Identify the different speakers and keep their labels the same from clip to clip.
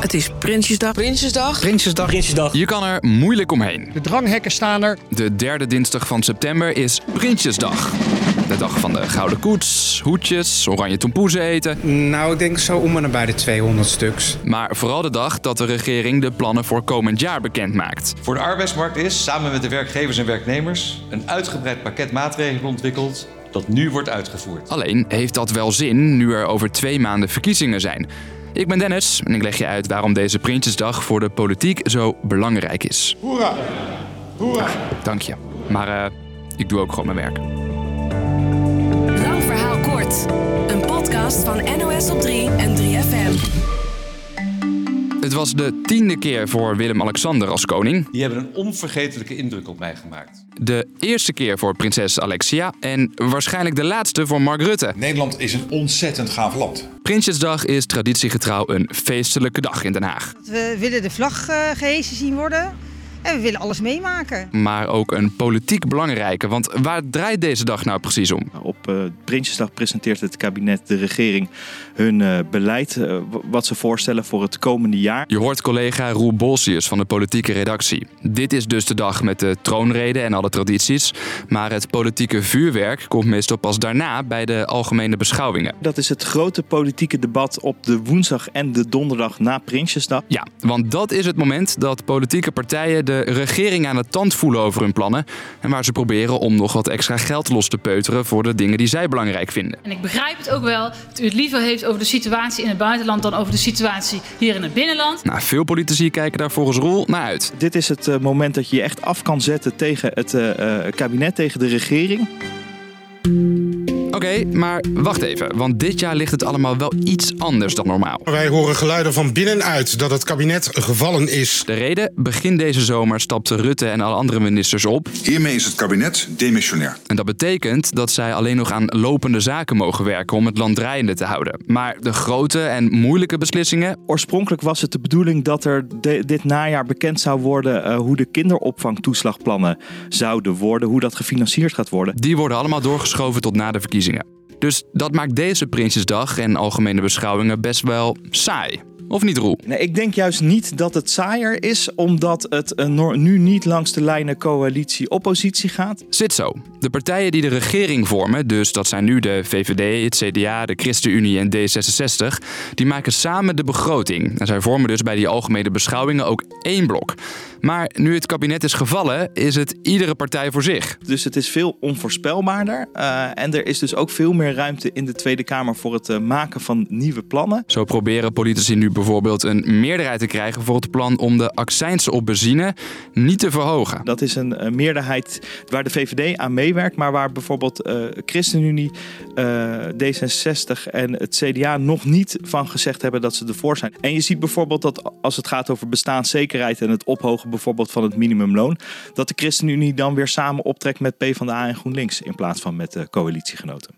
Speaker 1: Het is Prinsjesdag.
Speaker 2: Prinsjesdag.
Speaker 3: Prinsjesdag.
Speaker 4: Prinsjesdag.
Speaker 5: Je kan er moeilijk omheen.
Speaker 3: De dranghekken staan er.
Speaker 5: De derde dinsdag van september is Prinsjesdag. De dag van de gouden koets, hoedjes, oranje tompoezen eten.
Speaker 6: Nou, ik denk zo om en bij de 200 stuks.
Speaker 5: Maar vooral de dag dat de regering de plannen voor komend jaar bekend maakt.
Speaker 7: Voor de arbeidsmarkt is, samen met de werkgevers en werknemers, een uitgebreid pakket maatregelen ontwikkeld dat nu wordt uitgevoerd.
Speaker 5: Alleen heeft dat wel zin nu er over twee maanden verkiezingen zijn. Ik ben Dennis en ik leg je uit waarom deze Prinsjesdag voor de politiek zo belangrijk is.
Speaker 8: Hoera! Hoera!
Speaker 5: Dank je. Maar eh, ik doe ook gewoon mijn werk.
Speaker 1: Lang verhaal kort. Een podcast van NOS op 3 en 3FM.
Speaker 5: Het was de tiende keer voor Willem-Alexander als koning,
Speaker 7: Die hebben een onvergetelijke indruk op mij gemaakt.
Speaker 5: de eerste keer voor prinses Alexia en waarschijnlijk de laatste voor Mark Rutte.
Speaker 8: Nederland is een ontzettend gaaf land.
Speaker 5: Prinsjesdag is traditiegetrouw een feestelijke dag in Den Haag.
Speaker 9: We willen de vlag eh, gehezen zien worden en we willen alles meemaken.
Speaker 5: Maar ook een politiek belangrijke, want waar draait deze dag nou precies om?
Speaker 10: Op eh, Prinsjesdag presenteert het kabinet de regering hun eh, beleid, eh, w- wat ze voorstellen voor het komende jaar.
Speaker 5: Je hoort collega Roel Bolsius van de politieke redactie. Dit is dus de dag met de troonrede en alle tradities. Maar het politieke vuurwerk komt meestal pas daarna bij de algemene beschouwingen.
Speaker 10: Dat is het grote politieke debat op de woensdag en de donderdag na Prinsjesdag.
Speaker 5: Ja, want dat is het moment dat politieke partijen de regering aan het tand voelen over hun plannen. En waar ze proberen om nog wat extra geld los te peuteren voor de dingen die zij belangrijk vinden.
Speaker 11: En ik begrijp het ook wel dat u het liever heeft over de situatie in het buitenland dan over de situatie hier in het binnenland.
Speaker 5: Nou, veel politici kijken daar volgens Roel naar uit.
Speaker 10: Dit is het eh, moment dat je je echt af kan zetten tegen het eh, eh, kabinet, tegen de regering.
Speaker 5: Oké, maar wacht even, want dit jaar ligt het allemaal wel iets anders dan normaal.
Speaker 8: Wij horen geluiden van binnenuit dat het kabinet gevallen is.
Speaker 5: De reden? Begin deze zomer stapten Rutte en alle andere ministers op.
Speaker 8: Hiermee is het kabinet demissionair.
Speaker 5: En dat betekent dat zij alleen nog aan lopende zaken mogen werken om het land draaiende te houden. Maar de grote en moeilijke beslissingen,
Speaker 10: Oorspronkelijk was het de bedoeling dat er de- dit najaar bekend zou worden eh, hoe de kinderopvangtoeslagplannen zouden worden, hoe dat gefinancierd gaat worden.
Speaker 5: die worden allemaal doorgeschoven tot na de verkiezingen. Dus dat maakt deze Prinsjesdag en algemene beschouwingen best wel saai. Of niet, Roel?
Speaker 10: Nee, ik denk juist niet dat het saaier is, omdat het eh, no- nu niet langs de lijnen coalitie-oppositie gaat.
Speaker 5: Zit zo. De partijen die de regering vormen, dus dat zijn nu de VVD, het CDA, de ChristenUnie en D66, die maken samen de begroting. En zij vormen dus bij die algemene beschouwingen ook één blok. Maar nu het kabinet is gevallen, is het iedere partij voor zich.
Speaker 10: Dus het is veel onvoorspelbaarder. eh, en er is dus ook veel meer ruimte in de Tweede Kamer voor het eh, maken van nieuwe plannen.
Speaker 5: Zo proberen politici nu bijvoorbeeld een meerderheid te krijgen voor het plan om de accijnsen op benzine niet te verhogen.
Speaker 10: Dat is een eh, meerderheid waar de VVD aan meewerkt, maar waar bijvoorbeeld eh, ChristenUnie, eh, D66 en het CDA nog niet van gezegd hebben dat ze ervoor zijn. En je ziet bijvoorbeeld dat als het gaat over bestaanszekerheid en het ophogen bijvoorbeeld van het minimumloon, dat de ChristenUnie dan weer samen optrekt met PvdA en GroenLinks in plaats van met de coalitiegenoten.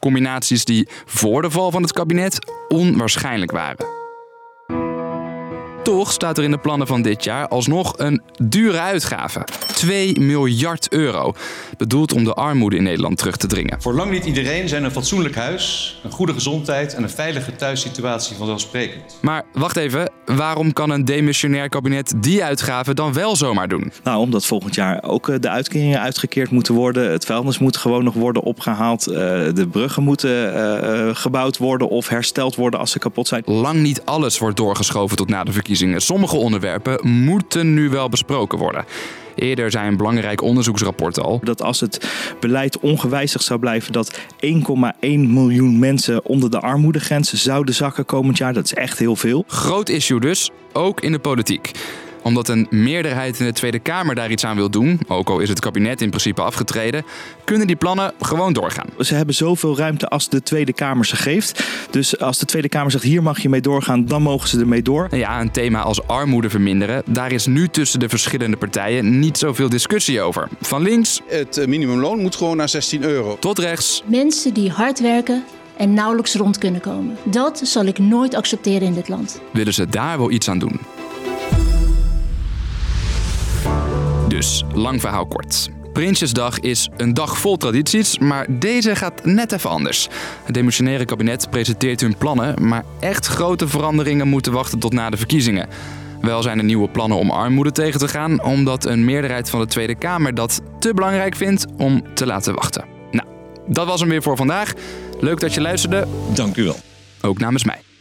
Speaker 5: Combinaties die voor de val van het kabinet onwaarschijnlijk waren. Toch staat er in de plannen van dit jaar alsnog een dure uitgave. 2 miljard euro. Bedoeld om de armoede in Nederland terug te dringen.
Speaker 7: Voor lang niet iedereen zijn een fatsoenlijk huis, een goede gezondheid en een veilige thuissituatie vanzelfsprekend.
Speaker 5: Maar wacht even, waarom kan een demissionair kabinet die uitgaven dan wel zomaar doen?
Speaker 10: Nou, omdat volgend jaar ook eh, de uitkeringen uitgekeerd moeten worden. Het vuilnis moet gewoon nog worden opgehaald. eh, De bruggen moeten eh, eh, gebouwd worden of hersteld worden als ze kapot zijn.
Speaker 5: Lang niet alles wordt doorgeschoven tot na de verkiezingen. Sommige onderwerpen moeten nu wel besproken worden. Eerder zei een belangrijk onderzoeksrapport al
Speaker 10: Dat als het beleid ongewijzigd zou blijven, dat 1,1 miljoen mensen onder de armoedegrens zouden zakken komend jaar. Dat is echt heel veel.
Speaker 5: Groot issue dus, ook in de politiek. Omdat een meerderheid in de Tweede Kamer daar iets aan wil doen, ook al is het kabinet in principe afgetreden, kunnen die plannen gewoon doorgaan.
Speaker 10: Ze hebben zoveel ruimte als de Tweede Kamer ze geeft. Dus als de Tweede Kamer zegt hier mag je mee doorgaan, dan mogen ze ermee door.
Speaker 5: Nou ja, een thema als armoede verminderen, daar is nu tussen de verschillende partijen niet zoveel discussie over. Van links
Speaker 6: Het eh, minimumloon moet gewoon naar 16 euro.
Speaker 5: tot rechts,
Speaker 12: Mensen die hard werken en nauwelijks rond kunnen komen. Dat zal ik nooit accepteren in dit land.
Speaker 5: willen ze daar wel iets aan doen. Dus, lang verhaal kort. Prinsjesdag is een dag vol tradities, maar deze gaat net even anders. Het demissionaire kabinet presenteert hun plannen, maar echt grote veranderingen moeten wachten tot na de verkiezingen. Wel zijn er nieuwe plannen om armoede tegen te gaan, omdat een meerderheid van de Tweede Kamer dat te belangrijk vindt om te laten wachten. Nou, dat was hem weer voor vandaag. Leuk dat je luisterde,
Speaker 2: Dank u wel.
Speaker 5: ook namens mij.